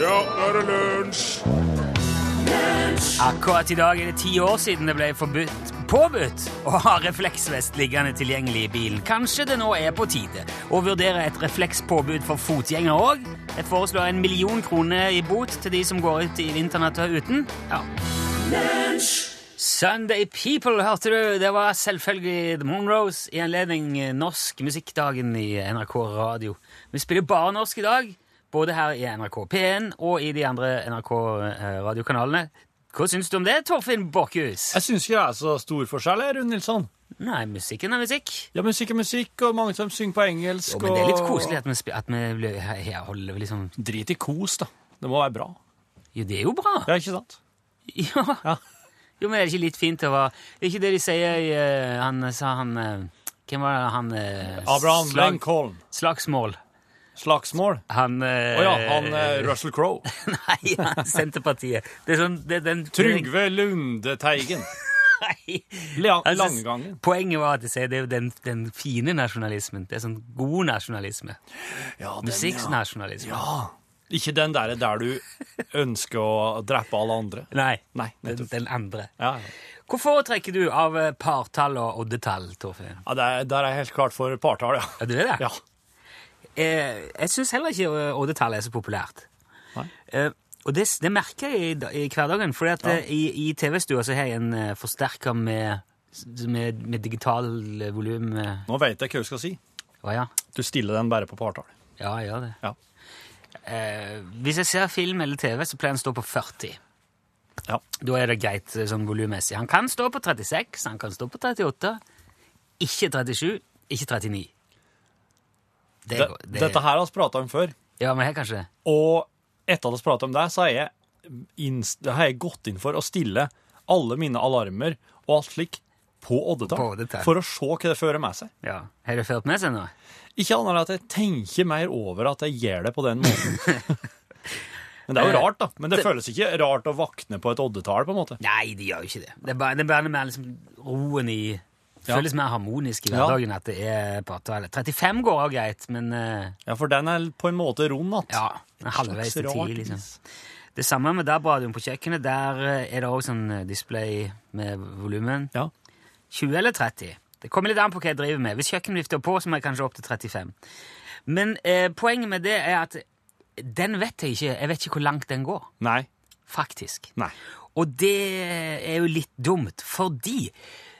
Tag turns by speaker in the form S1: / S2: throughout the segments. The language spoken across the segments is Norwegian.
S1: nå er det lunsj!
S2: Akkurat i dag er det ti år siden det ble forbudt, påbudt å ha refleksvest liggende tilgjengelig i bilen. Kanskje det nå er på tide å vurdere et reflekspåbud for fotgjengere òg? Jeg foreslår en million kroner i bot til de som går ut i vinternatta uten. Ja. Sunday People, hørte du? Det var selvfølgelig The Monroes i anledning eh, Norsk musikkdagen i NRK Radio. Vi spiller bare norsk i dag, både her i NRK P1 og i de andre NRK-radiokanalene. Hva syns du om det, Torfinn Borkhus?
S3: Jeg syns ikke det er så stor forskjell, jeg, Rune Nilsson.
S2: Nei, musikken er musikk.
S3: Ja, musikk er musikk, og mange som synger på engelsk.
S2: Jo, men det er litt koselig at vi, spi- at vi blir- her holder liksom
S3: og Drit i kos, da. Det må være bra.
S2: Jo, det er jo bra!
S3: Ja, ikke sant?
S2: Ja.
S3: Ja.
S2: Jo, men er det ikke litt fint å være Det er ikke det de sier i eh, Han sa han eh, Hvem var det han eh,
S3: Abraham
S2: slag-
S3: Lincoln.
S2: Slagsmål.
S3: Slagsmål.
S2: Han Å
S3: Å ja, han eh, Russell Crowe.
S2: Nei, han, Senterpartiet. Det er sånn det, er den,
S3: Trygve Lundeteigen.
S2: Nei.
S3: Lang-
S2: Jeg synes-
S3: Langegangen.
S2: altså, Poenget var at jeg sier det er jo den, den fine nasjonalismen. Det er sånn god nasjonalisme.
S3: Ja, den,
S2: sånn
S3: ja.
S2: Musikksnasjonalisme.
S3: ja. Ikke den derre der du ønsker å drepe alle andre.
S2: Nei.
S3: Nei,
S2: den,
S3: nettopp.
S2: den andre.
S3: Ja, ja.
S2: Hvor foretrekker du av eh, partall og oddetall, Torfinn?
S3: Ja, der, der er jeg helt klart for partall, ja.
S2: Ja, du er det?
S3: ja.
S2: Eh, jeg syns heller ikke eh, oddetall er så populært.
S3: Nei.
S2: Eh, og det, det merker jeg i, da- i hverdagen, for i, i TV-stua så har jeg en eh, forsterker med, med, med digital eh, volum. eh.
S3: Nå vet jeg hva du skal si.
S2: Å ja.
S3: Du stiller den bare på partall.
S2: Ja, jeg gjør det.
S3: Ja.
S2: Eh, hvis jeg ser film eller TV, så pleier han å stå på 40.
S3: Ja.
S2: Da er det greit eh, sånn volummessig. Han kan stå på 36, han kan stå på 38. Ikke 37, ikke 39. Det,
S3: Det,
S2: går- det,
S3: dette her har vi prata om før.
S2: Ja, men her kanskje.
S3: Og etter at vi pratet om det, så har jeg, inns- det har jeg gått inn for å stille alle mine alarmer og alt slik på
S2: På
S3: oddetall,
S2: oddetall.
S3: for å se hva det fører med seg.
S2: Ja. Har det ført med seg noe?
S3: Ikke annet enn at jeg tenker mer over at jeg gjør det på den måten. Men det
S2: Eh,
S3: er jo rart, da. Men det, føles ikke rart å våkne på et oddetall, på en måte.
S2: Nei, det gjør jo ikke det. Det er bare, det er bare mer liksom roen i det
S3: Ja.
S2: Føles mer harmonisk i
S3: Ja.
S2: hverdagen at det er partall. 35 går òg greit, men eh,
S3: Ja, for den er på en måte rund att.
S2: ja, halvveis til
S3: slags
S2: 10,
S3: rart
S2: liksom.
S3: is.
S2: Det samme med DAB-radioen på kjøkkenet. Der eh, er det òg sånn eh, display med volumen.
S3: Ja.
S2: 20 eller 30. Det kommer litt an på hva jeg driver med. Hvis kjøkkenvifta er på, så må jeg kanskje opp til 35. Men eh, poenget med det er at den vet jeg ikke. Jeg vet ikke hvor langt den går,
S3: Nei.
S2: faktisk.
S3: Nei.
S2: Og det er jo litt dumt, fordi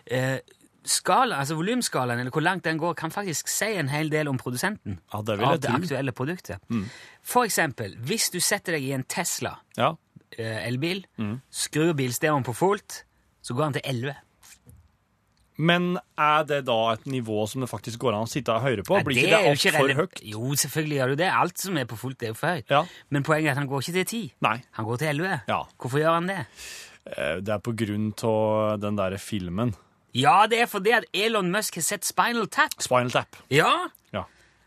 S2: eh, skala, altså volumskalaen, eller hvor langt den går, kan faktisk si en hel del om produsenten
S3: Ja, det vil
S2: av
S3: jeg
S2: det
S3: tro. Mm.
S2: aktuelle produktet. For eksempel, hvis du setter deg i en Tesla
S3: Ja.
S2: eh, elbil,
S3: Mm.
S2: skrur bilstereoen på fullt, så går den til 11.
S3: Men er det da et nivå som det faktisk går an å sitte og høre på?
S2: Nei,
S3: Blir ikke
S2: er
S3: det
S2: jo
S3: alt for
S2: rele-
S3: høyt?
S2: Jo, selvfølgelig gjør du det. Alt som er på fullt, er jo for høyt.
S3: Ja.
S2: Men poenget er at han går ikke til 10.
S3: Nei.
S2: Han går til 11.
S3: Ja.
S2: Hvorfor gjør han det?
S3: Eh, Det er på grunn av den der filmen
S2: Ja, det er fordi at Elon Musk har sett Spinal Tap.
S3: Spinal Tap.
S2: Ja,
S3: Ja.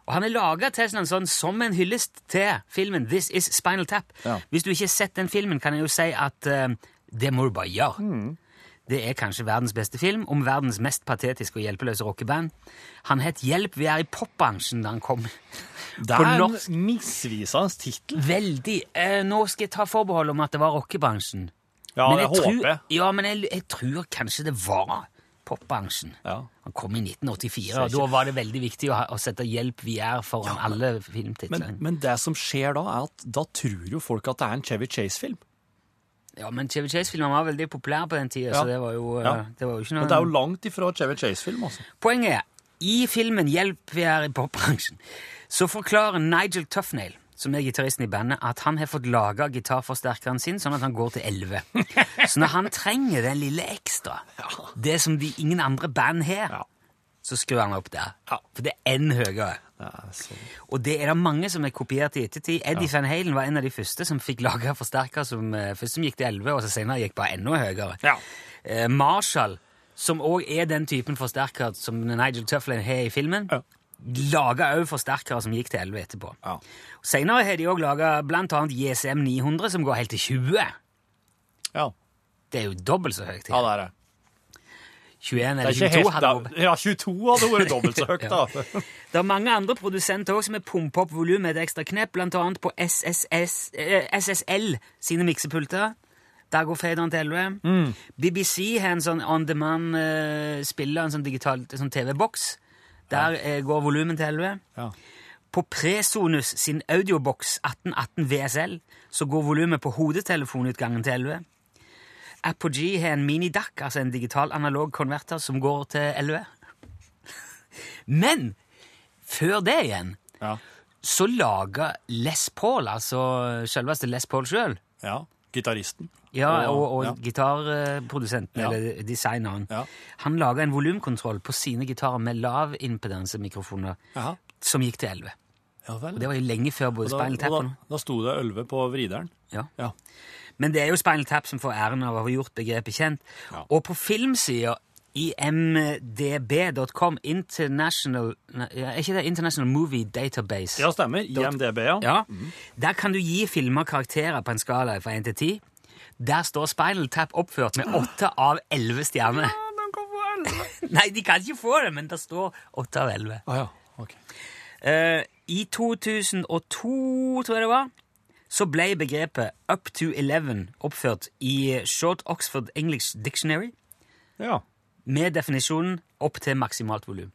S2: Og han har laga Teslaen sånn som en hyllest til filmen This Is Spinal Tap.
S3: Ja.
S2: Hvis du ikke har sett den filmen, kan jeg jo si at eh, det må du bare gjøre. Det er kanskje verdens beste film om verdens mest patetiske og hjelpeløse rockeband. Han het Hjelp, vi er i popbransjen da han kom.
S3: Det
S2: På
S3: er en
S2: norsk.
S3: misvisende tittel.
S2: Veldig. Eh, nå skal jeg ta forbehold om at det var rockebransjen.
S3: Ja,
S2: Men
S3: det håper
S2: tror,
S3: jeg.
S2: Ja, men jeg, jeg tror kanskje det var popbransjen.
S3: Ja.
S2: Han kom i 1984, og da var det veldig viktig å, ha, å sette 'Hjelp, vi er' foran alle
S3: Men,
S2: filmtitlene.
S3: men det som skjer da, er at da tror jo folk at det er en Chevy Chase-film.
S2: Ja, men Chevy Chase-filmer var veldig populære på den tida,
S3: Ja.
S2: så det var jo, eh,
S3: Ja.
S2: det var jo ikke
S3: Men
S2: noe
S3: det er jo langt ifra Chevy Chase-film, altså.
S2: Poenget er, i filmen 'Hjelp, vi er i popbransjen', så forklarer Nigel Tufnail, som er gitaristen i bandet, at han har fått laga gitarforsterkeren sin sånn at han går til 11. Så når han trenger den lille ekstra, det som de ingen andre band har,
S3: Ja.
S2: så skrur han opp der.
S3: Ja.
S2: For det er enn høyere.
S3: Det er så...
S2: Og det er det mange som er kopiert i ettertid. Eddie Van Halen var en av de første som fikk laga forsterker som eh, først som gikk til 11, og så senere gikk bare enda høyere.
S3: Ja.
S2: Eh, Marshall, som òg er den typen forsterker som Nigel Tufflin har i filmen,
S3: Ja.
S2: laga òg forsterkere som gikk til 11 etterpå.
S3: Ja.
S2: Senere har de òg laga bl.a. JSM 900, som går helt til 20.
S3: Ja.
S2: Det er jo dobbelt så høyt.
S3: ja, det er det.
S2: 21
S3: Det
S2: eller
S3: er ikke
S2: 22
S3: helt,
S2: hadde
S3: da, ja, 22 hadde vært dobbelt så høyt, da.
S2: Det er mange andre produsenter også som har pumpa opp volumet et ekstra knepp, bl.a. på SSS, eh, SSL sine miksepulter. Der går faderen til 11. BBC har en sånn on demand-spiller, en sånn digital en sånn TV-boks. Der eh, går volumet til 11.
S3: Ja.
S2: På Presonus sin audioboks 1818 VSL så går volumet på hodetelefonutgangen til 11. Apogee har en mini-DAC, altså en digital analog konverter, som går til 11. Men før det igjen
S3: Ja.
S2: så laga Les Paul, altså selveste Les Paul sjøl,
S3: ja. Gitaristen.
S2: ja, og, og
S3: ja.
S2: gitarprodusenten,
S3: Ja.
S2: eller designeren,
S3: Ja.
S2: han laga en volumkontroll på sine gitarer med lav impedansemikrofoner
S3: Jaha.
S2: som gikk til 11.
S3: Ja vel.
S2: Og det var jo lenge før både
S3: da,
S2: Spinal
S3: og
S2: Tap
S3: da,
S2: og noe.
S3: da sto det 11 på vrideren.
S2: Ja.
S3: Ja.
S2: Men det er jo Spinal Tap som får æren av å ha gjort begrepet kjent.
S3: Ja.
S2: Og på filmsida imdb.com International nei, Er ikke det International Movie Database?
S3: ja, stemmer. IMDb, ja.
S2: Ja. Der kan du gi filmer karakterer på en skala fra 1 til 10. Der står Spinal Tap oppført med 8 av 11 stjerner.
S3: den kom på 11.
S2: Nei, de kan ikke få det, men det står 8 av 11.
S3: Ah, ja. ok.
S2: Eh, I 2002, tror jeg det var, så ble begrepet up to 11 oppført i Short Oxford English Dictionary
S3: Ja.
S2: med definisjonen opp til maksimalt volum.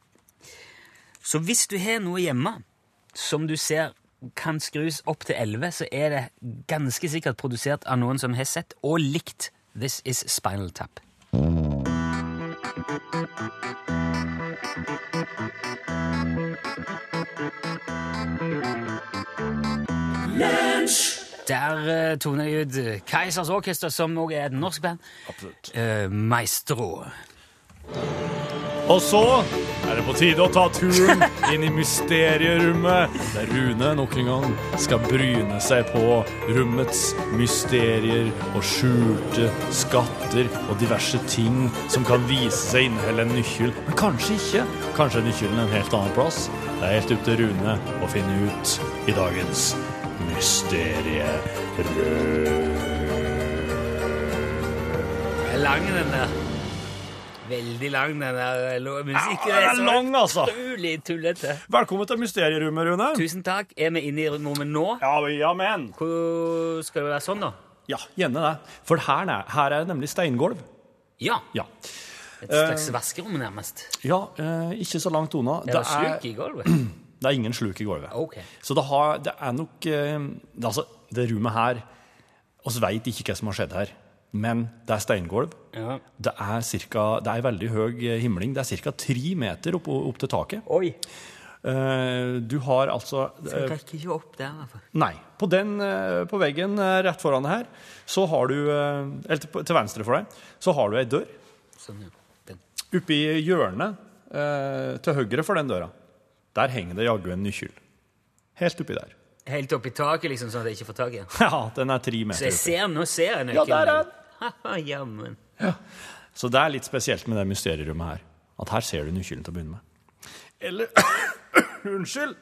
S2: Så hvis du har noe hjemme som du ser kan skrus opp til 11, så er det ganske sikkert produsert av noen som har sett og likt This Is Spinal Tap. Der eh, toner jeg ut Keisers Orkester, som også er et norsk band.
S3: Absolutt.
S2: Eh, Maestro.
S3: Og så er det på tide å ta turen inn i mysterierommet, der Rune nok en gang skal bryne seg på rommets mysterier og skjulte skatter og diverse ting som kan vise seg inneholde en nøkkel, men kanskje ikke. Kanskje er nøkkelen en helt annen plass. Det er helt opp til Rune å finne ut i dagens mysterierom.
S2: Det er lang, den der. Veldig lang, den der lo- musikken.
S3: Ja, den er lang, altså.
S2: Utrolig tullete.
S3: Velkommen til mysterierommet, Rune.
S2: Tusen takk. Er vi inne i rommet nå?
S3: Ja, ja, men.
S2: Hvor skal det være sånn, da?
S3: Ja, gjerne det. For her, er- her er det nemlig steingolv.
S2: Ja.
S3: Ja,
S2: Et
S3: Eh,
S2: slags vaskerom, nærmest.
S3: ja eh, ikke så langt unna.
S2: Det var sluk Oh. i gulvet.
S3: det er ingen sluk i gulvet.
S2: Ok.
S3: Så det, har, det er nok eh, det, Altså, det rommet her oss veit ikke hva som har skjedd her, men det er steingolv.
S2: Ja.
S3: Det er, cirka, det er veldig høy eh, himling. Det er ca. tre meter opp, opp til taket.
S2: Oi.
S3: Eh, du har altså eh,
S2: Jeg rekker ikke opp der, i hvert fall.
S3: Nei. På, den, eh, på veggen eh, rett foran deg her, så har du eh, Eller til- til venstre for deg, så har du ei dør.
S2: Sånn, ja. Den.
S3: Oppe i hjørnet eh, til høyre for den døra, der henger det jaggu en nøkkel. Helt oppi der.
S2: Helt opp i taket, liksom, sånn at jeg ikke får tak i den.
S3: Ja, den er tre
S2: Så
S3: meter
S2: jeg
S3: oppi.
S2: ser, nå ser jeg
S3: Ja, der er den.
S2: Haha, Jammen.
S3: Så det er litt spesielt med det mysterierommet her. At her ser du nøkkelen til å begynne med. Eller Unnskyld!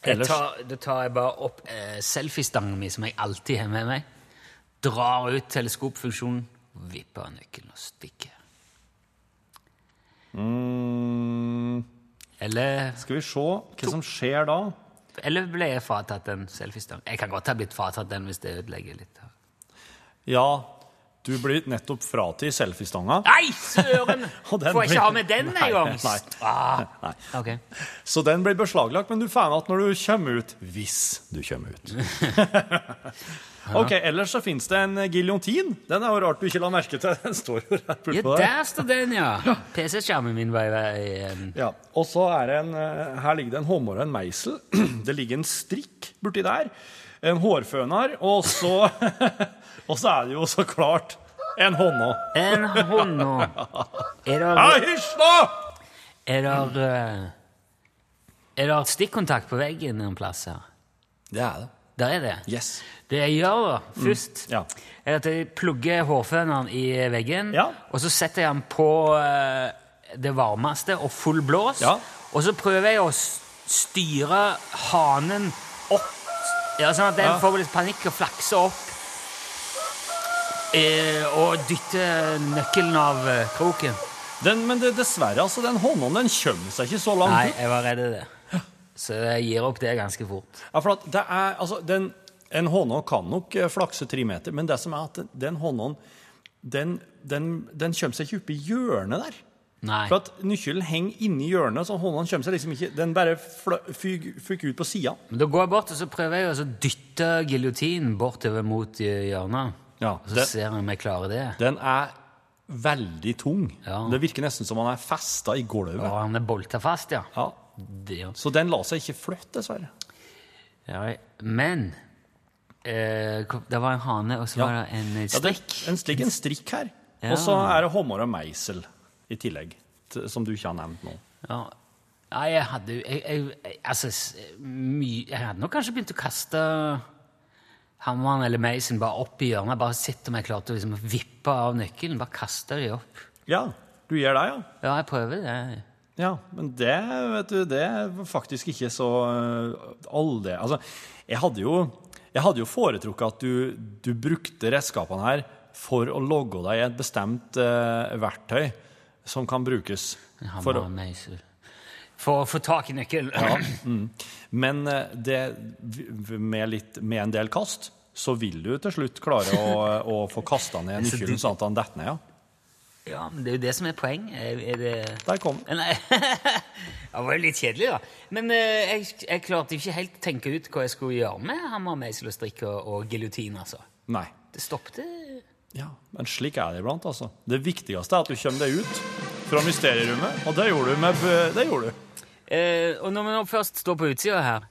S2: Jeg
S3: Ellers-
S2: tar, da tar jeg bare opp eh, selfiestangen min, som jeg alltid har med meg. Drar ut teleskopfunksjonen, vipper av nøkkelen og stikker.
S3: Mm,
S2: Eller,
S3: skal vi se hva som skjer da.
S2: eller ble jeg fratatt den selfiestang? Jeg kan godt ha blitt fratatt den hvis det ødelegger litt. her.
S3: Ja, du blir nettopp fratatt selfiestanga.
S2: Nei, søren!
S3: Og
S2: Får
S3: den
S2: jeg
S3: blir-
S2: ikke ha med den
S3: Nei,
S2: engang?
S3: nei.
S2: Ah.
S3: Nei.
S2: Ok.
S3: Så den blir beslaglagt, men du får den igjen når du kommer ut. Hvis du kommer ut. ok, Ellers så fins det en giljotin. Den er jo rart du ikke la merke til. Den står jo rett
S2: Ja,
S3: bortpå der.
S2: der står den, ja! PC-skjermen min var i vei. eh,
S3: Ja, og så er det en, eh, Her ligger det en hårmåre og en meisel. Det ligger en strikk borti der. En hårføner. Og så, og så er det jo så klart en håndå.
S2: En hånd nå. Er det,
S3: Ja, hysj nå!
S2: er det, eh, er det stikkontakt på veggen noen plass her?
S3: Det er det.
S2: Der er det.
S3: Yes.
S2: Det jeg gjør da, først,
S3: Mm. Ja.
S2: er at jeg plugger hårføneren i veggen,
S3: Ja.
S2: og så setter jeg den på eh, det varmeste og full blås,
S3: Ja.
S2: og så prøver jeg å s- styre hanen opp, ja, sånn at den
S3: Ja.
S2: får litt panikk og flakser opp, eh, og dytter nøkkelen av eh, kroken.
S3: Den, men det, dessverre, altså, den hånden den kommer seg ikke så
S2: Nei,
S3: langt.
S2: jeg var redd i det. Så jeg gir opp det ganske fort.
S3: Ja, for at det er, altså, den, en håndhånd kan nok eh, flakse tre meter, men det som er at den, den håndhånd, den, den, den kommer seg ikke opp i hjørnet der.
S2: Nei.
S3: For at nøkkelen henger inni hjørnet, så håndhånd kommer seg liksom ikke, den bare flø- fyg- fyker ut på siden.
S2: Men da går jeg bort og så prøver jeg å dytte giljotinen bortover mot eh, hjørnet.
S3: Ja,
S2: og så
S3: det-
S2: ser jeg om jeg klarer det.
S3: Den er veldig tung.
S2: Ja.
S3: Det virker nesten som han er festet i gulvet.
S2: Og han er bolta fast, ja.
S3: Ja.
S2: Det, ja.
S3: Så den la seg ikke flytte, dessverre.
S2: Ja, Men eh, kom- det var en hane, og så
S3: Ja.
S2: var det en eh,
S3: Ja, det-
S2: strikk.
S3: en strikk, en strikk her.
S2: Ja.
S3: Og så er det hummer og meisel i tillegg, t- som du ikke har nevnt nå.
S2: Ja. Nei, jeg hadde jo jeg, jeg, jeg- Altså, s- mye Jeg hadde nok kanskje begynt å kaste hammeren eller meisen bare opp i hjørnet. Bare sett om jeg klarte å liksom vippe av nøkkelen. Bare kaste de opp.
S3: Ja, du gjør det, ja.
S2: Ja, jeg prøver det.
S3: Ja, men det, vet du, det er faktisk ikke så øh, all det. Altså, jeg hadde jo, jeg hadde jo foretrukket at du, du brukte redskapene her for å logge deg i et bestemt øh, verktøy som kan brukes.
S2: Hammer
S3: For,
S2: og
S3: å-
S2: meisen. For å få tak i nøkkelen.
S3: men øh, det, v- v- med, litt, med en del kast, så vil du til slutt klare å, eh, å få kastet ned nøkkelen sånn at han detter ned, ja.
S2: Ja, men det er jo det som er poeng. Er, er det
S3: Der kom den.
S2: Nei Det var jo litt kjedelig, da. Men eh, jeg, jeg klarte ikke helt å tenke ut hva jeg skulle gjøre med hammer, meisel og strikk og, og giljotin, altså.
S3: Nei.
S2: Det stoppet
S3: Ja, men slik er det iblant, altså. Det viktigste er at du kommer deg ut fra mysterierommet, og det gjorde du med b- Det gjorde du.
S2: Eh, Og når vi nå først står på utsida her,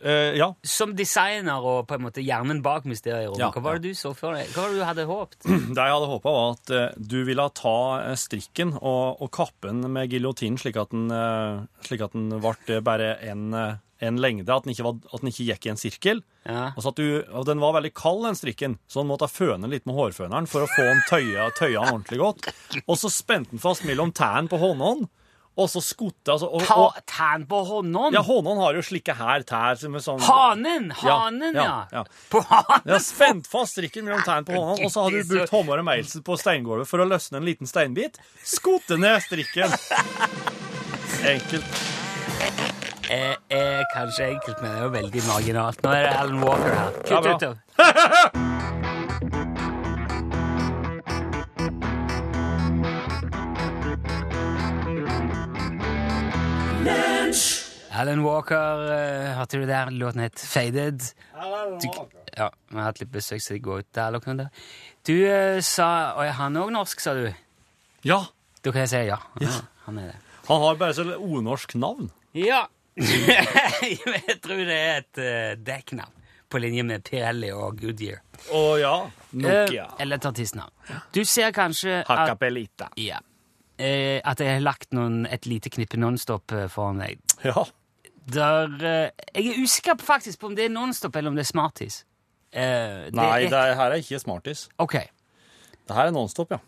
S3: Eh, ja.
S2: som designer og på en måte hjernen bak mysterierommet,
S3: Ja,
S2: hva var det du så for deg? Hva var det du hadde håpet?
S3: Det jeg hadde håpa, var at eh, du ville ta eh, strikken og, og kappe den med giljotinen, slik at den, eh, slik at den ble bare en, eh, en lengde, at den, ikke var, at den ikke gikk i en sirkel.
S2: Ja.
S3: Og, så at du, og den var veldig kald, den strikken, så den måtte føne litt med hårføneren for å få den tøya, tøya den ordentlig godt. Og så spente den fast mellom tærne på håndhånd, og så skotte altså, og,
S2: Ta
S3: og,
S2: tærne på hånden!
S3: Ja, håndhånd har jo slike her tær som er sånn
S2: Hanen!
S3: Ja,
S2: Hanen, ja!
S3: ja, ja.
S2: På hanen!
S3: Jeg har spent fast strikken mellom tærne på håndhånd, og så har du brukt håndhår og meisel på steingulvet for å løsne en liten steinbit. Skote ned strikken. Enkelt.
S2: Eh, eh, kanskje enkelt, men det er jo veldig marginalt. Nå er det Alan Walker her.
S3: Ja,
S2: Kutt
S3: bra.
S2: ut det. Alan Walker, eh, hørte du der? Låten het Faded. Du, ja, Vi har hatt litt besøk, så de går ut der. eller noe der. Du eh, sa Og er han òg norsk, sa du?
S3: Ja.
S2: Da kan jeg si ja. ja. Han er det.
S3: Han har bare så onorsk navn.
S2: Ja. jeg tror det er et eh, dekknavn på linje med Pirelli og Goodyear.
S3: Å ja. Nokia.
S2: Eh, Eller et artistnavn. Du ser kanskje at,
S3: Hakapelita.
S2: ja, eh, at jeg har lagt noen, et lite knippe Nonstop eh, foran deg.
S3: Ja.
S2: Der, eh, jeg er usikker på faktisk på om det er Nonstop eller om det er Smarties. Eh, det
S3: Nei,
S2: er-
S3: det er- her er ikke Smarties.
S2: Ok.
S3: Det her er Nonstop, ja.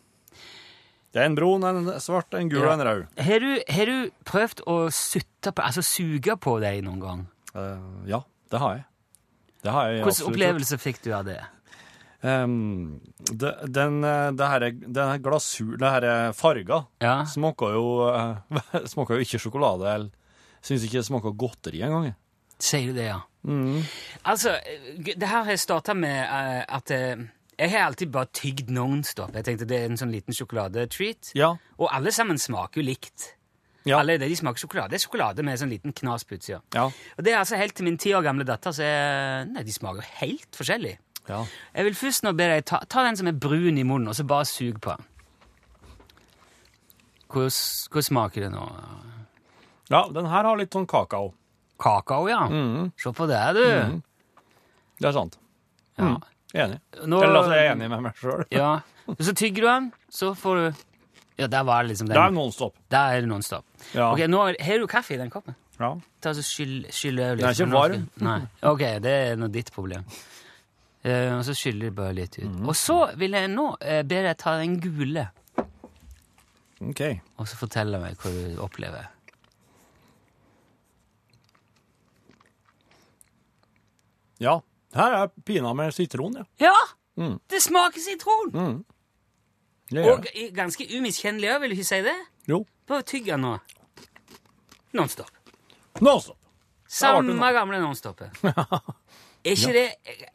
S3: Det er en brun, en svart, en gul og en rød.
S2: Har du, har du prøvd å sutte på, altså suge på deg noen gang?
S3: Eh, ja, det har jeg. Det har jeg
S2: Hvilken
S3: absolutt gjort.
S2: opplevelse fikk du av det?
S3: Ehm, det, den, eh, det her, den her glasur, det her er farga,
S2: Ja.
S3: smaker jo, eh, smaker jo ikke sjokolade. eller Syns ikke det smaker godteri engang. jeg.
S2: Sier du det, ja? Altså, g- det her har starta med eh, at eh, jeg har alltid bare tygd nonstop. Jeg tenkte det er en sånn liten sjokoladetreat.
S3: Ja.
S2: Og alle sammen smaker jo likt.
S3: Ja.
S2: Alle de smaker sjokolade. Det er sjokolade med sånn liten knas på utsida.
S3: Ja.
S2: Og det er altså helt til min ti år gamle datter, så er, nei, de smaker jo helt forskjellig.
S3: ja.
S2: Jeg vil først nå be deg ta, ta den som er brun i munnen, og så bare sug på den. Hvordan hvordan smaker det nå?
S3: ja, den her har litt sånn kakao.
S2: Kakao, ja. Se på det, du.
S3: Det er sant. Mm.
S2: Ja.
S3: Enig.
S2: Nå-
S3: Eller altså, jeg er enig med meg sjøl.
S2: Ja, og så tygger du den, så får du Ja, der var det liksom den.
S3: Det er Nonstop.
S2: Der er det nonstop.
S3: Ja.
S2: Ok, nå er- Har du kaffe i den koppen?
S3: Ja.
S2: Ta så skyll, skyll over litt.
S3: Den er ikke
S2: Nå skal-
S3: varm.
S2: Nei. Ok, det er nå ditt problem. Eh, og så skyller du bare litt ut.
S3: Mhm.
S2: Og så vil jeg nå eh, be deg ta den gule,
S3: OK.
S2: og så fortelle meg hva du opplever.
S3: Ja. Her er pina med sitron, ja.
S2: Ja! Det smaker sitron!
S3: Mm. Ja, ja.
S2: Og i- ganske umiskjennelig òg, vil du ikke si det?
S3: Jo.
S2: Prøv å tygge den nå. Nonstop.
S3: Nonstop. artig
S2: Samme
S3: nå.
S2: gamle nonstopet. Er ikke det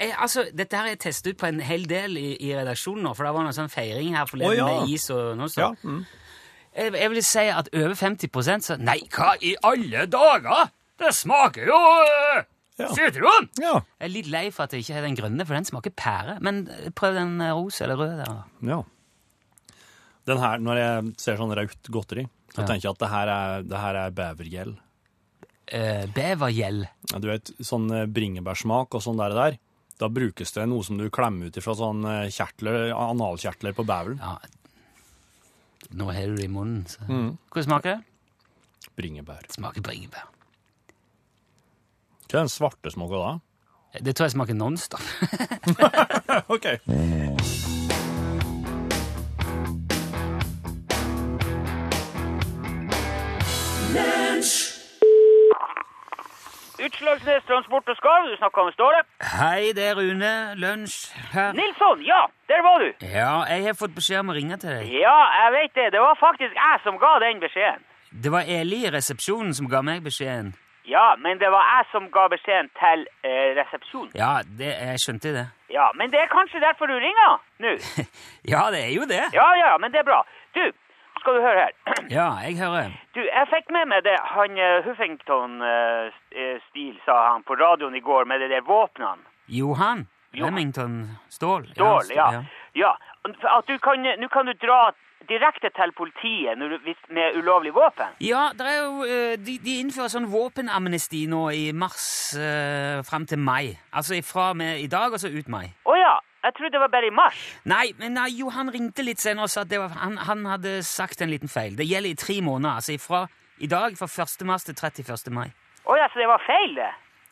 S2: eh, Altså, dette her er testet ut på en hel del i, i redaksjonen nå, for det var noen sånn feiring her
S3: Å,
S2: forleden
S3: ja.
S2: med is og nonstop.
S3: Ja. Mm.
S2: Jeg, jeg vil si at over 50 sa Nei, hva i alle dager?! Det smaker jo eh,
S3: Ja.
S2: sitron!
S3: ja.
S2: Jeg er litt lei for at jeg ikke har den grønne, for den smaker pære. Men eh, prøv den eh, rosa eller røde der, da.
S3: Ja. Den her, når jeg ser sånn raut godteri, så
S2: Ja.
S3: tenker jeg at det her er, det her er bevergjell.
S2: Eh, Bevergjell.
S3: Ja, Du vet, sånn eh, bringebærsmak og sånn der, der, da brukes det noe som du klemmer ut ifra sånn eh, kjertler, analkjertler på beveren.
S2: Ja. Nå har du det i munnen. Så.
S3: Mm.
S2: Hvordan smaker det?
S3: Bringebær.
S2: Smaker bringebær.
S3: Hva er den svarte smaken da?
S2: Det tror jeg smaker Nonstop.
S3: Ok.
S1: Utslagsnes Transport og Skarv, du snakka med Ståle.
S2: Hei, det er Rune. Lunsj her.
S1: Nilsson, ja, der var du.
S2: Ja, jeg har fått beskjed om å ringe til deg.
S1: Ja, jeg vet det. Det var faktisk jeg som ga den beskjeden.
S2: Det var Eli i resepsjonen som ga meg beskjeden.
S1: Ja, men det var jeg som ga beskjeden til eh, resepsjonen.
S2: Ja, det, jeg skjønte det.
S1: Ja, men det er kanskje derfor du ringer nå?
S2: Ja, det er jo det.
S1: Ja, ja, men det er bra. Du, skal du høre her.
S2: Ja, jeg hører.
S1: Du, jeg fikk med meg det han eh, Huffington eh, st- eh, Steele sa han på radioen i går med de der våpnene.
S2: Johan
S1: Johan.
S2: Remington Ståhl.
S1: Stål,
S2: Stål,
S1: ja. ja. At du kan, nå kan du dra direkte til politiet når du, hvis- med ulovlig våpen.
S2: Ja, det er jo, eh, de, de innfører sånn våpenamnesti nå i mars eh, fram til mai. Altså fra og med i dag og så ut mai.
S1: Å ja, jeg trodde det var bare i mars.
S2: Nei, men nei, Johan ringte litt senere og sa at det var, han, han hadde sagt en liten feil. Det gjelder i tre måneder, altså fra i dag, fra 1. mars til 31. mai.
S1: Å ja, så det var feil, det.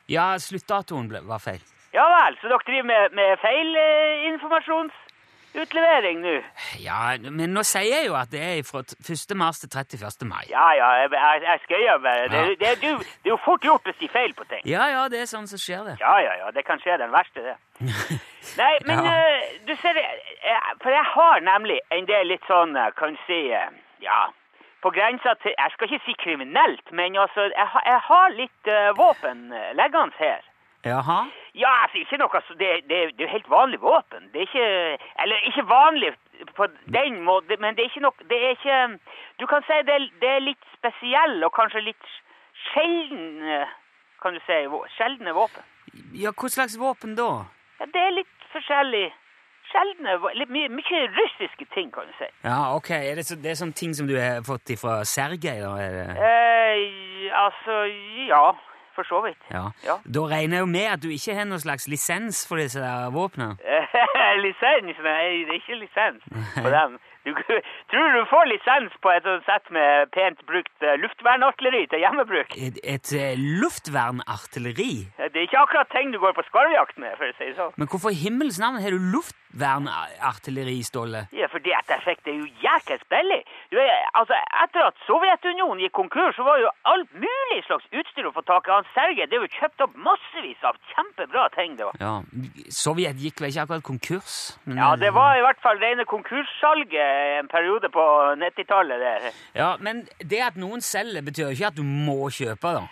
S2: Ja, sluttdatoen ble, var feil.
S1: Ja vel, så dere driver med, med feil eh, informasjonsutlevering nå?
S2: Ja, men nå sier jeg jo at det er fra t- 1. mars til 31. mai.
S1: Ja ja, jeg, jeg, jeg skøyer bare. Det,
S2: Ja.
S1: det, er jo- det er jo fort gjort å si feil på ting.
S2: Ja, ja, det er sånn som skjer det.
S1: Ja ja ja, det kan skje den verste, det. Nei, men
S2: Ja.
S1: eh, du ser, eh, eh, for jeg har nemlig en del litt sånn, eh, kan si, eh, ja på grensa til Jeg skal ikke si kriminelt, men altså, jeg, har- jeg har litt eh, våpen eh, liggende her.
S2: Jaha.
S1: Ja, altså, ikke noe så det, det, det er jo helt vanlig våpen. Det er ikke Eller ikke vanlig på den måten, men det er ikke noe Det er ikke Du kan si det, det er litt spesiell og kanskje litt sjeldne Kan du si vå- sjeldne våpen?
S2: Ja, hva slags våpen da?
S1: Ja, det er litt forskjellig. Sjeldne vå- litt Mye, mye russiske ting, kan du si.
S2: Ja, ok. Er det, så, det er sånne ting som du har fått ifra Sergej, da? Er det?
S1: Eh, altså Ja, for så vidt.
S2: Ja.
S1: ja.
S2: Da regner jeg jo med at du ikke har noen slags lisens for disse der våpnene.
S1: lisens? Nei, det er ikke lisens på den. Du, tror du du får lisens på et sånt sett med pent brukt eh, luftvernartilleri til hjemmebruk?
S2: Et, et eh, luftvernartilleri?
S1: Det er ikke akkurat ting du går på skarvjakt med, for å si det sånn.
S2: Men hvorfor i himmels navn har du luftvernartilleri, Ståle?
S1: Ja, fordi at jeg fikk det jo jækels billig. Du, jeg- altså, etter at Sovjetunionen gikk konkurs, så var jo alt mulig slags utstyr å få tak i. Han Sergej, det er jo kjøpt opp massevis av kjempebra ting, det var.
S2: Ja, Sovjet gikk vel ikke akkurat konkurs? Men,
S1: Ja, det var i hvert fall rene konkurssalget en periode på 90-tallet der.
S2: Ja, Men det at noen selger, betyr jo ikke at du må kjøpe, da.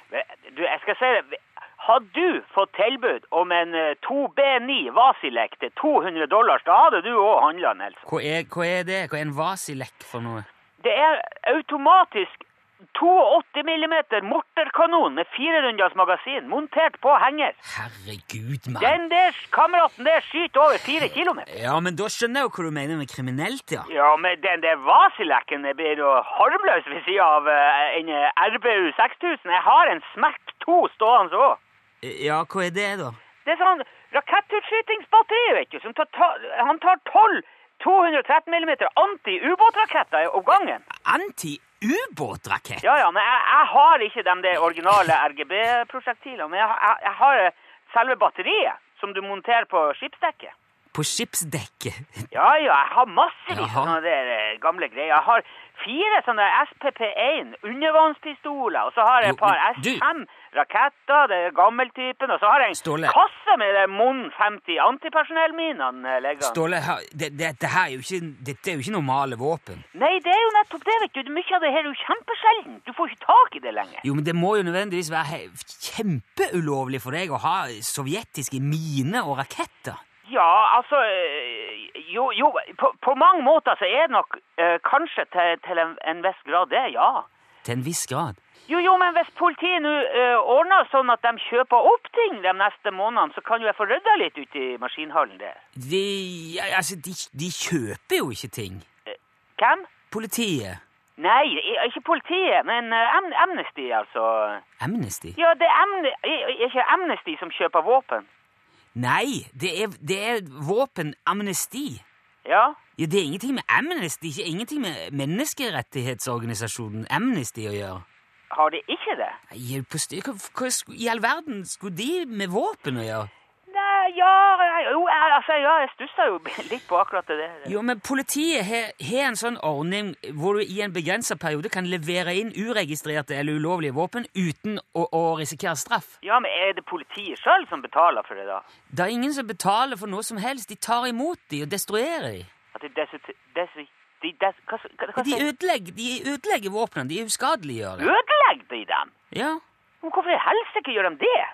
S1: Du, jeg skal si det. Hadde du fått tilbud om en eh, 2B9 Vasilek til 200 dollars, da hadde du òg handla den. Else.
S2: Hva er, hva er det? Hva er en vasilekk for noe?
S1: Det er automatisk 82 mm morterkanon med 400 magasin montert på henger.
S2: Herregud, mann.
S1: Den der kameraten der skyter over 4 km.
S2: Ja, men da skjønner jeg jo hva du mener med kriminelt, ja.
S1: Ja, men den der Vasileken det blir jo harmløs ved sida av eh, en eh, RBU 6000. Jeg har en Smack 2 stående òg.
S2: Ja, hva er det, da?
S1: Det er sånn rakettutskytingsbatteri, vet du. Som tar, ta, han tar 12 213 mm anti-ubåtraketter om gangen.
S2: Anti-ubåtrakett?
S1: Ja, ja, men jeg, jeg har ikke de der originale RGB-prosjektilene. Men jeg, har- jeg, jeg har eh, selve batteriet som du monterer på skipsdekket.
S2: på skipsdekket.
S1: Ja, ja, jeg har massevis
S2: Jaha.
S1: av sånne der eh, gamle greier. Jeg har fire sånne SPP-1 undervannspistoler, og så har jeg et
S2: Jo,
S1: par
S2: men du-
S1: S5 raketter, det er gammeltypen, og så har jeg en
S2: Ståle.
S1: kasse med de Mon 50 antipersonellminene eh, liggende.
S2: Ståle, her- det- dette her er jo ikke, dette er jo ikke normale våpen.
S1: Nei, det er jo nettopp det, vet du. Mye av det her er jo kjempesjeldent. Du får ikke tak i det lenger.
S2: Jo, men det må jo nødvendigvis være he- kjempeulovlig for deg å ha sovjetiske miner og raketter.
S1: Ja, altså eh, Jo, jo på, på mange måter så er det nok eh, kanskje til, til en, en viss grad det, ja.
S2: Til en viss grad.
S1: Jo, jo, men hvis politiet nå eh, ordner sånn at de kjøper opp ting de neste månedene, så kan jo jeg få rydda litt ute i maskinhallen der.
S2: De, ja, altså, de, de kjøper jo ikke ting.
S1: Hvem?
S2: Politiet.
S1: Nei, i- ikke politiet, men eh, Am Amnesty, altså.
S2: Amnesty.
S1: Ja, det er Amne i- i- ikke Amnesty som kjøper våpen.
S2: Nei, det er, det er våpenamnesti.
S1: Ja?
S2: Ja, det er ingenting med Amnesty, ikke ingenting med menneskerettighetsorganisasjonen Amnesty å gjøre.
S1: Har de ikke det?
S2: Nei, jeg er på styr- Hva, hva sku- i all verden skulle de med våpen å gjøre?
S1: Nei, ja jeg- Jo, jeg- altså, ja, jeg stussa jo litt på akkurat det der.
S2: Jo, men politiet har har en sånn ordning hvor du i en begrenset periode kan levere inn uregistrerte eller ulovlige våpen uten å, å risikere straff.
S1: Ja, men er det politiet sjøl som betaler for det, da?
S2: Det er ingen som betaler for noe som helst. De tar imot de og destruerer de.
S1: At de desut... desu... De des... Hva, s- hva, hva
S2: De
S1: sier
S2: ødelegger, de ødelegger våpnene. De uskadeliggjør det.
S1: Ødelegger de dem?
S2: Ja.
S1: Men Hvorfor i helsike gjør de det?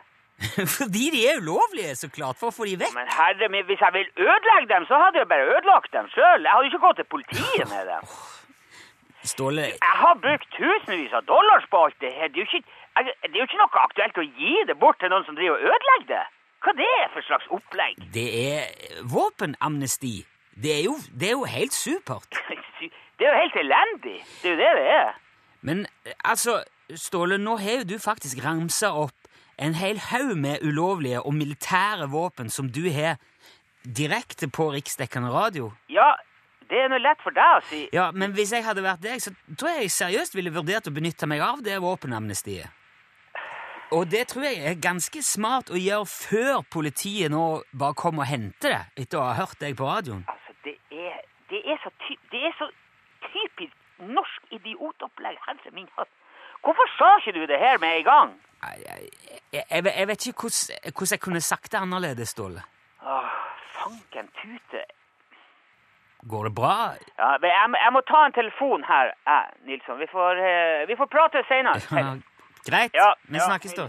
S2: Fordi de er ulovlige, så klart. For å få de vekk.
S1: Men herre min, hvis jeg ville ødelegge dem, så hadde jeg bare ødelagt dem sjøl. Jeg hadde ikke gått til politiet med dem.
S2: Ståle,
S1: Jeg har brukt tusenvis av dollars på alt det her. Det er jo ikke, jeg, det er jo ikke noe aktuelt å gi det bort til noen som driver og ødelegger det. Hva det er for slags opplegg?
S2: det er våpenamnesti. Det er jo, det er jo helt supert.
S1: Det er jo helt elendig. Det er jo det det er.
S2: Men eh, altså, Ståle, nå har jo du faktisk ramsa opp en hel haug med ulovlige og militære våpen som du har direkte på riksdekkende radio.
S1: Ja, det er nå lett for deg å si.
S2: Ja, Men hvis jeg hadde vært deg, så tror jeg jeg seriøst ville vurdert å benytte meg av det våpenamnestiet. Og det tror jeg er ganske smart å gjøre før politiet nå bare kommer og henter det, etter å ha hørt deg på radioen.
S1: Altså, det er, det er, så, ty, det er så typisk norsk idiotopplegg. Herre min hatt. Hvorfor sa ikke du det her med en gang?
S2: Nei, Jeg, jeg, jeg, vet- jeg vet ikke hvordan hvordan jeg kunne sagt det annerledes, Ståle.
S1: Åh, fanken tute.
S2: Går det bra?
S1: Ja, men jeg, jeg må ta en telefon her, jeg, Nilsson. Vi får, eh, vi får prate senere. Hei.
S2: Greit,
S1: Ja,
S2: vi
S1: ja.
S2: snakkes da.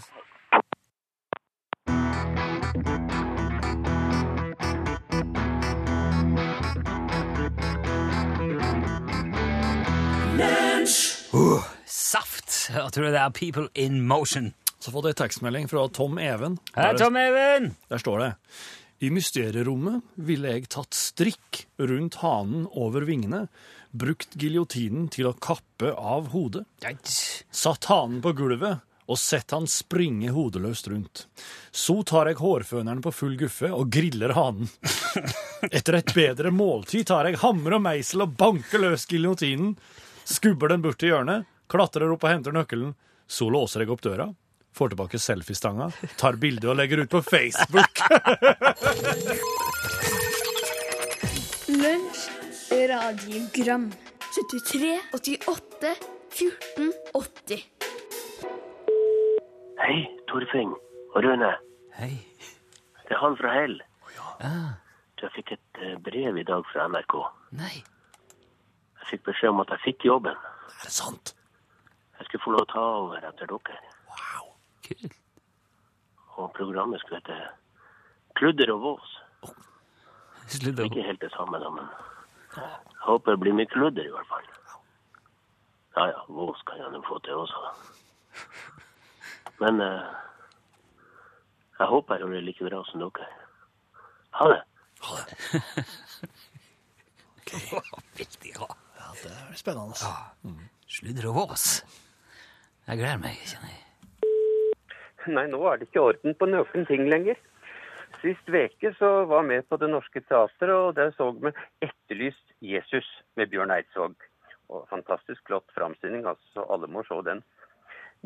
S2: Uh, saft, hørte du det der? People in motion.
S3: Så fått jeg tekstmelding fra Tom Even.
S2: Hei, Tom Even!
S3: Der står det. I mysterierommet ville jeg tatt strikk rundt hanen over vingene, brukt giljotinen til å kappe av hodet, satt hanen på gulvet og sett han springe hodeløst rundt. Så tar jeg hårføneren på full guffe og griller hanen. Etter et bedre måltid tar jeg hammer og meisel og banker løs giljotinen, skubber den bort til hjørnet, klatrer opp og henter nøkkelen. Så låser jeg opp døra, får tilbake selfiestanga, tar bilde og legger ut på Facebook.
S4: Lunsj, radiogram 73, 88, 14, 80
S5: Hei, Torfinn og Rune.
S2: Hei.
S5: Det er han fra Hell.
S3: Ah.
S5: Du, Jeg fikk et eh, brev i dag fra NRK.
S2: Nei.
S5: Jeg fikk beskjed om at jeg fikk jobben.
S3: Er det sant?
S5: Jeg skulle få lov å ta over etter dere.
S3: Wow.
S2: Kult.
S5: Og programmet skulle hete Kludder og vås.
S2: Slutt å
S5: Ikke helt det samme, da, men jeg håper det blir mye kludder i hvert fall. Ja ja, vås kan jeg nå få til også. Men eh, jeg håper jeg gjør det like bra som dere. Ha det.
S2: Veldig bra.
S3: Ja, det er spennende.
S2: Sludder og vårs. Jeg gleder meg, kjenner jeg.
S6: Nei, nå er det ikke orden på noen ting lenger. Sist veke så var jeg med på Det Norske Teatret, og der så vi 'Etterlyst Jesus' med Bjørn Eidsvåg. Og fantastisk flott framstilling, altså. Alle må se den.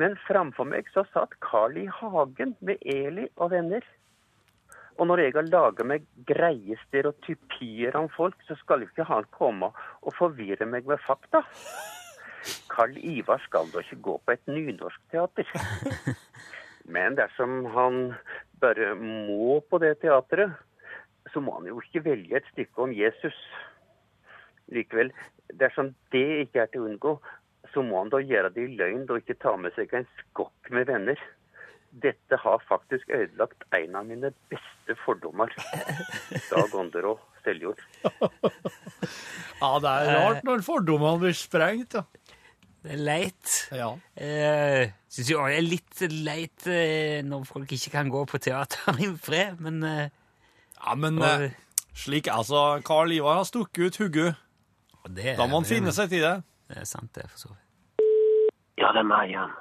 S6: Men framfor meg så satt Carl I. Hagen med Eli og venner. Og når jeg har laga meg greie stereotypier om folk, så skal jo ikke han komme og forvirre meg med fakta. Karl Ivar skal da ikke gå på et nynorskteater. Men dersom han bare må på det teatret, så må han jo ikke velge et stykke om Jesus. Likevel, dersom det ikke er til å unngå, så må han da gjøre det i løgn og ikke ta med seg en skokk med venner. Dette har faktisk ødelagt en av mine beste fordommer. Dag Ånderå Seljord.
S3: Ja, det er rart når fordommene blir sprengt, ja.
S2: Det er leit.
S3: Ja.
S2: Eh, Syns jo også det er litt leit eh, når folk ikke kan gå på teater i fred, men eh,
S3: Ja, men
S2: Og-
S3: eh, slik altså, Karl Ivar har stukket ut hugget.
S2: og det,
S3: Da må han finne seg til det.
S2: Det er sant, det, for så vidt.
S5: Ja, det er meg igjen.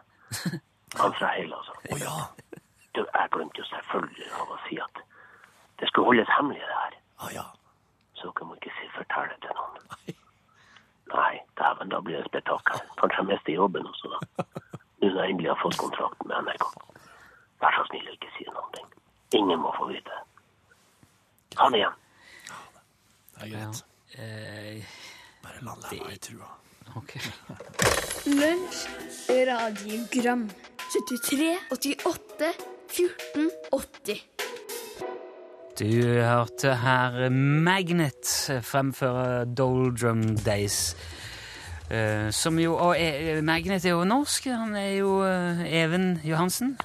S5: Han fra Hell, altså.
S3: Å ja.
S5: Du, jeg glemte jo selvfølgelig av å si at det skulle holdes hemmelig, det her.
S3: Å Ah, ja.
S5: Så dere må ikke si fortelle til noen. Nei, dæven, da blir det spetakkel. Kanskje jeg mister jobben også, da. Nå når jeg endelig har fått kontrakt med NRK. Vær så snill og ikke si noen ting. Ingen må få vite det. Ha det igjen.
S3: Det er greit.
S2: Eh,
S3: Bare la det være i trua.
S2: ok.
S4: Lunsj, radiogram 73, 88, 14, 80
S2: Du hørte her Magnet fremføre Doldrum Days. Eh, som jo, og eh, Magnet er jo norsk. Han er jo eh, Even Johansen.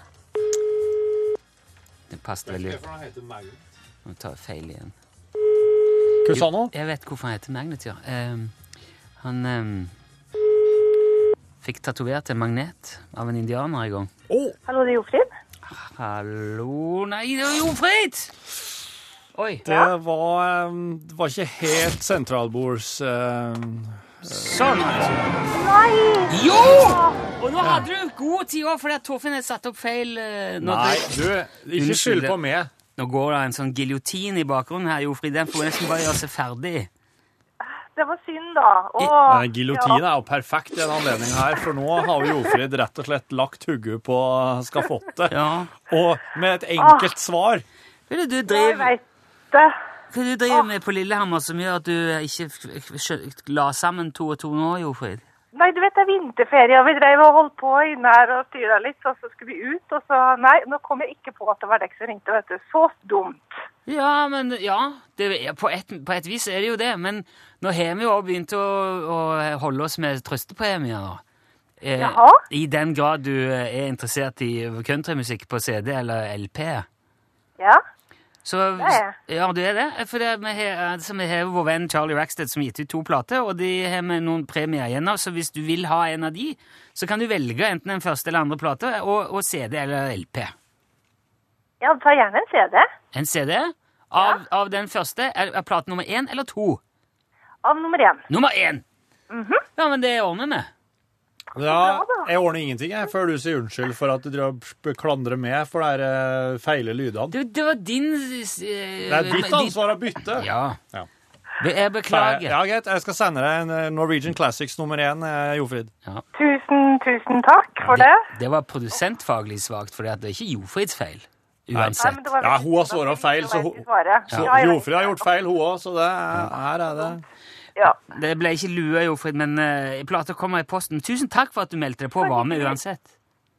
S2: Det passet veldig. Nå tar jeg feil igjen.
S3: Hva sa han nå?
S2: Jeg vet hvorfor han heter Magnet, ja. Ehm, han ehm, fikk tatovert en magnet av en indianer en gang.
S7: Hallo, det er Jofrid.
S2: Hallo Nei, det er Jofrid! Oi.
S3: Det var, eh, det var ikke helt sentralbords eh,
S2: Sånn. Nei! Jo! Og nå hadde du god tid òg, fordi at Torfinn hadde satt opp feil. eh, når
S3: Nei,
S2: det-
S3: du, ikke
S2: Unnskyld.
S3: skyld på meg.
S2: Nå går det en sånn giljotin i bakgrunnen her, Jofrid. Den får nesten bare gjøre seg ferdig.
S7: Det var synd, da.
S3: Eh,
S7: Åh,
S3: Giljotinen er jo perfekt i denne anledningen her, for nå har jo Jofrid rett og slett lagt hugget på skafottet.
S2: Ja.
S3: Og med et enkelt svar.
S2: Hva er det du
S7: Ja, jeg
S2: driver,
S7: vet det.
S2: hva er det du driver med på Lillehammer som gjør at du eh, ikke f- skjø- la sammen to og to nå, Jofrid?
S7: Nei, du vet det er vinterferie, og vi drev og holdt på inne her og styra litt, og så skulle vi ut, og så Nei, nå kom jeg ikke på at det var deg som ringte, vet du. Så dumt.
S2: Ja, men ja, det er, på, et, på et vis er det jo det. Men nå har vi jo også begynt å, å holde oss med trøstepremier. da. Eh,
S7: Jaha?
S2: I den grad du eh, er interessert i countrymusikk på CD eller LP.
S7: Ja.
S2: Så,
S7: er
S2: ja, du er det. For det, vi har altså, vi har jo vår venn Charlie Rackstead som har gitt ut to plater, og de har vi noen premier igjen av, så hvis du vil ha en av de, så kan du velge enten den første eller andre plata og, og CD eller LP.
S7: Ja, ta gjerne en CD.
S2: En CD av, av den første er, er plate nummer én eller to.
S7: Av nummer én.
S2: Nummer én!
S7: Mhm.
S2: Ja, men det ordner vi.
S3: Ja, jeg ordner ingenting jeg, før du sier unnskyld for at du drev og klandrer meg for de her, eh, feile lydene.
S2: Det, det var din eh,
S3: Det er ditt ansvar å bytte.
S2: Ja.
S3: Ja.
S2: Be- Jeg beklager.
S3: Ja, greit. Jeg skal sende deg en eh, Norwegian Classics nummer én, eh, Jofrid.
S7: Tusen, tusen takk for det.
S2: det var produsentfaglig svakt, for det er ikke Jofrids feil.
S7: Nei,
S2: Uansett.
S7: men det var
S3: Ja,
S7: veldig
S3: hun har
S7: synd at
S3: svaret
S7: jeg
S3: feil,
S7: ikke
S3: så
S7: vet
S3: hun-
S7: svaret.
S3: Så
S7: Ja, jeg vet
S3: Jofrid har gjort feil, hun òg, så det er, her er det.
S7: Ja.
S2: Det ble ikke lue, Jofrid, men uh, plata kommer i posten. Tusen takk for at du meldte deg på og var med uansett.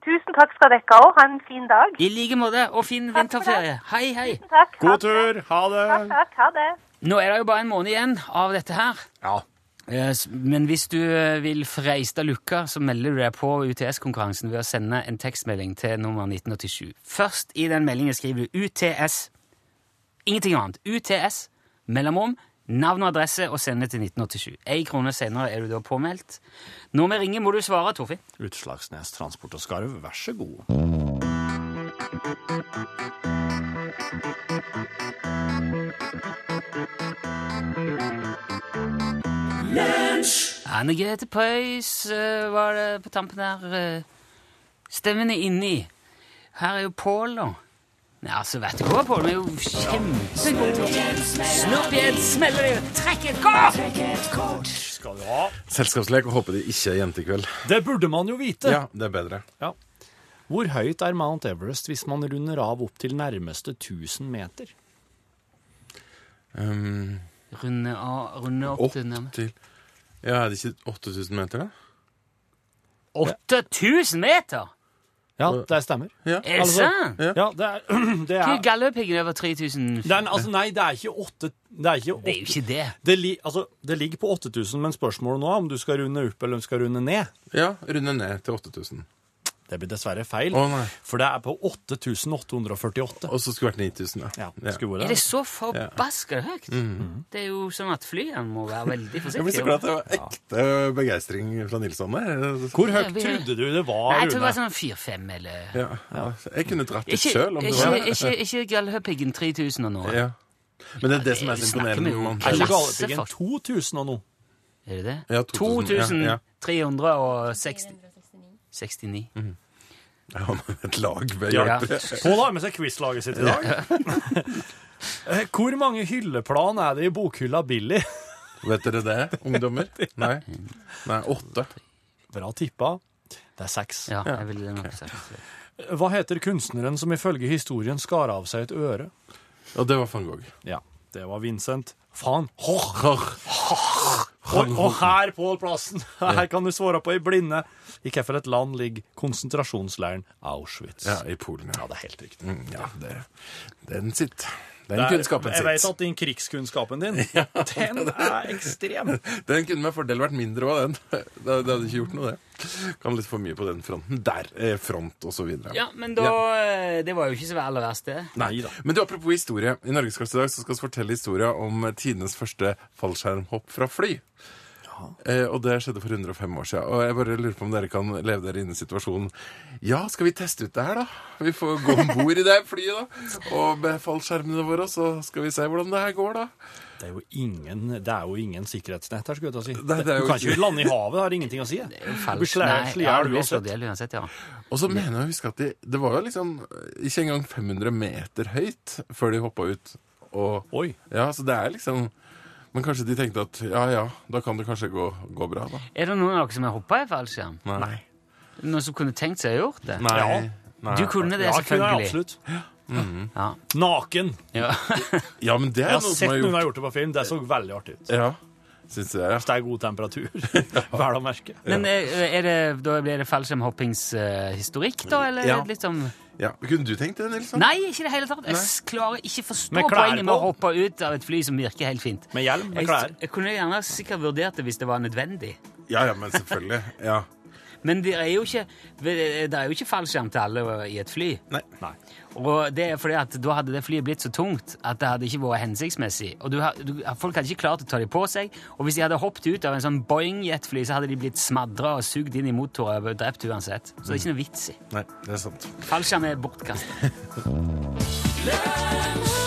S7: Tusen takk skal dere ha. Ha en fin dag.
S2: I like måte, og fin vinterferie. Hei, hei.
S7: Tusen takk. Ha
S3: God
S7: det.
S3: tur. Ha det.
S7: Takk, takk. Ha det.
S2: Nå er det jo bare en måned igjen av dette her.
S3: Ja.
S2: Eh, s- Men hvis du eh, vil freiste lukka, så melder du deg på UTS-konkurransen ved å sende en tekstmelding til nummer 1987. Først i den meldingen skriver du UTS. Ingenting annet. UTS, mellomrom, navn og adresse og sende til 1987. Ei krone senere er du da påmeldt. Når vi ringer, må du svare, Torfinn.
S3: Utslagsnes Transport og Skarv, vær så god.
S2: Anne Grete Preus eh, var det på tampen der. eh, Stemmen er inni. Her er jo Pål, da. Nei, altså, vet du hva, Pål? Vi er jo kjempegode. Snopp i et smell, og det- trekk et kort!
S3: Skal du ha?
S8: Selskapslek og håper de ikke er jente i kveld.
S3: Det burde man jo vite.
S8: Ja, det er bedre.
S3: Hvor høyt er Mount Everest hvis man runder av opp til nærmeste 1000 meter?
S8: Um,
S2: Runde, av- runde opp,
S8: opp
S2: til nærmest
S8: til Ja, er det ikke 8000 meter, da?
S2: 8000 meter!
S3: Ja, det stemmer.
S8: Ja.
S2: Er det
S3: Altså-
S2: sant?
S3: Ja, det er, det
S2: Hva er
S3: er,
S2: Galdhøpiggen over 3000?
S3: det er altså, Nei, det er ikke åtte... Det er ikke
S2: Det er jo
S3: åtte
S2: ikke det.
S3: det, li, altså, det ligger på 8000, men spørsmålet nå er om du skal runde opp eller om du skal runde ned.
S8: Ja, runde ned til 8000.
S3: Det blir dessverre feil,
S8: Å, nei.
S3: for det er på 8848.
S8: Og så skulle det vært 9000,
S3: Ja,
S8: ja.
S3: det skulle
S2: Er
S3: vært
S2: det
S3: det.
S2: så forbaska høyt? Det er jo sånn at flyene må være veldig
S8: Jeg ble så
S2: forsiktige.
S8: glad at det var ekte begeistring fra Nilsson der.
S3: Hvor høyt trodde du det var,
S2: Nei, jeg
S3: Rune?
S2: tror det var sånn 4-5 eller
S8: Ja, ja. Jeg kunne dratt litt
S2: Ikke,
S8: sjøl om det
S2: ikke,
S8: var
S2: ikke, ikke Galdhøpiggen 3000 og noe.
S8: ja. Men det er det som er så
S2: snakker
S8: imponerende.
S2: vi jo
S8: med
S2: om
S8: Mount
S3: Er
S8: Everest.
S3: ikke
S2: Klasse,
S3: Galdhøpiggen
S2: faktisk.
S3: 2000 og noe?
S2: Er det det?
S8: Ja, 2000, ja, ja.
S2: 2369. 69.
S8: Ja, men et lag ved
S2: Ja.
S8: hjelp.
S3: Pål har med seg quizlaget sitt i dag. Eh, Hvor mange hylleplan er det i bokhylla Billy?
S8: Vet dere det, ungdommer? Nei. Nei, åtte.
S3: Bra tippa. Det er seks.
S2: Ja, jeg ville nok sagt det.
S3: Hva heter kunstneren som ifølge historien skar av seg et øre?
S8: Og det var van Gogh.
S3: Ja, det var Vincent van Gogh. Og, og her, Pål Plassen, her kan du svare på i blinde. I hvilket land ligger konsentrasjonsleiren Auschwitz?
S8: Ja, I Polen, ja.
S3: det er helt riktig.
S8: Mm, ja det, den sitter. Den
S3: Det er-
S8: kunnskapen
S3: jeg vet
S8: sitter.
S3: at din krigskunnskapen din, den er ekstrem.
S8: Den kunne med fordel vært mindre òg, den. Det, det hadde ikke gjort noe, det. Kan litt for mye på den fronten. Der er front, og så videre.
S2: Ja, men da eh, Det var jo ikke så aller verst, det.
S8: Nei da. Men du, apropos historie. I Norgesklasse i dag så skal vi fortelle historien om tidenes første fallskjermhopp fra fly. Eh, og det skjedde for 105 år siden. Og jeg bare lurer på om dere kan leve dere inn i situasjonen. Ja, skal vi teste ut det her, da? Vi får gå om bord i det flyet, da. Og med fallskjermene våre, så skal vi se hvordan det her går, da.
S3: Det er jo ingen, det er jo ingen sikkerhetsnett her, skulle jeg til å si.
S8: Nei, det er jo
S3: du kan ikke
S8: ikke-
S3: lande i havet, det har ingenting å si. Det er
S2: Falsk- Nei, ja,
S3: Slær
S2: det blir slått
S3: uansett.
S2: ihjel uansett, ja.
S8: Og så mener jeg å huske at de, det var jo liksom ikke engang 500 meter høyt før de hoppa ut. Og,
S3: Oi.
S8: ja, så det er liksom Men kanskje de tenkte at ja ja, da kan det kanskje gå, gå bra, da.
S2: Er det noen av dere som har hoppa i fallskjerm?
S8: Nei.
S2: Noen som kunne tenkt seg å gjort det?
S8: Nei.
S3: Ja.
S8: Nei.
S2: Du kunne det,
S3: Ja, kunne jeg
S2: selvfølgelig.
S3: absolutt.
S2: Ja.
S3: Naken.
S2: Ja.
S8: Ja, men det er
S3: Jeg har
S8: noe
S3: sett
S8: som er
S3: noen
S8: gjort.
S3: har gjort det på film. Det så veldig artig ut.
S8: Ja, synes jeg, ja.
S3: Det er god temperatur. Vel å merke.
S2: Men eh, er det, da blir det fallskjermhoppingshistorikk, da? Eller
S8: Ja.
S2: litt sånn
S8: ja. Kunne du tenkt det, Nilsson?
S2: Nei, ikke i det hele tatt. Jeg s- klarer ikke å forstå
S3: Med klær
S2: poenget med å
S3: på.
S2: hoppe ut av et fly som virker helt fint.
S3: Med hjelm, med
S2: Jeg,
S3: klær.
S2: jeg kunne gjerne sikkert vurdert det hvis det var nødvendig.
S8: Ja, ja, men selvfølgelig. Ja.
S2: Men det er jo ikke, det er jo ikke fallskjerm til alle i et fly.
S8: Nei.
S2: Og det er fordi at da hadde det flyet blitt så tungt at det hadde ikke vært hensiktsmessig. Og du, ha- du, folk hadde ikke klart å ta dem på seg. Og hvis de hadde hoppet ut av en sånn Boeing-jetfly, så hadde de blitt smadra og sugd inn i motorer og drept uansett. Så det er ikke noe vits i.
S8: Nei, det er sant.
S2: Fallskjerm er bortkastet.
S9: Lunsj!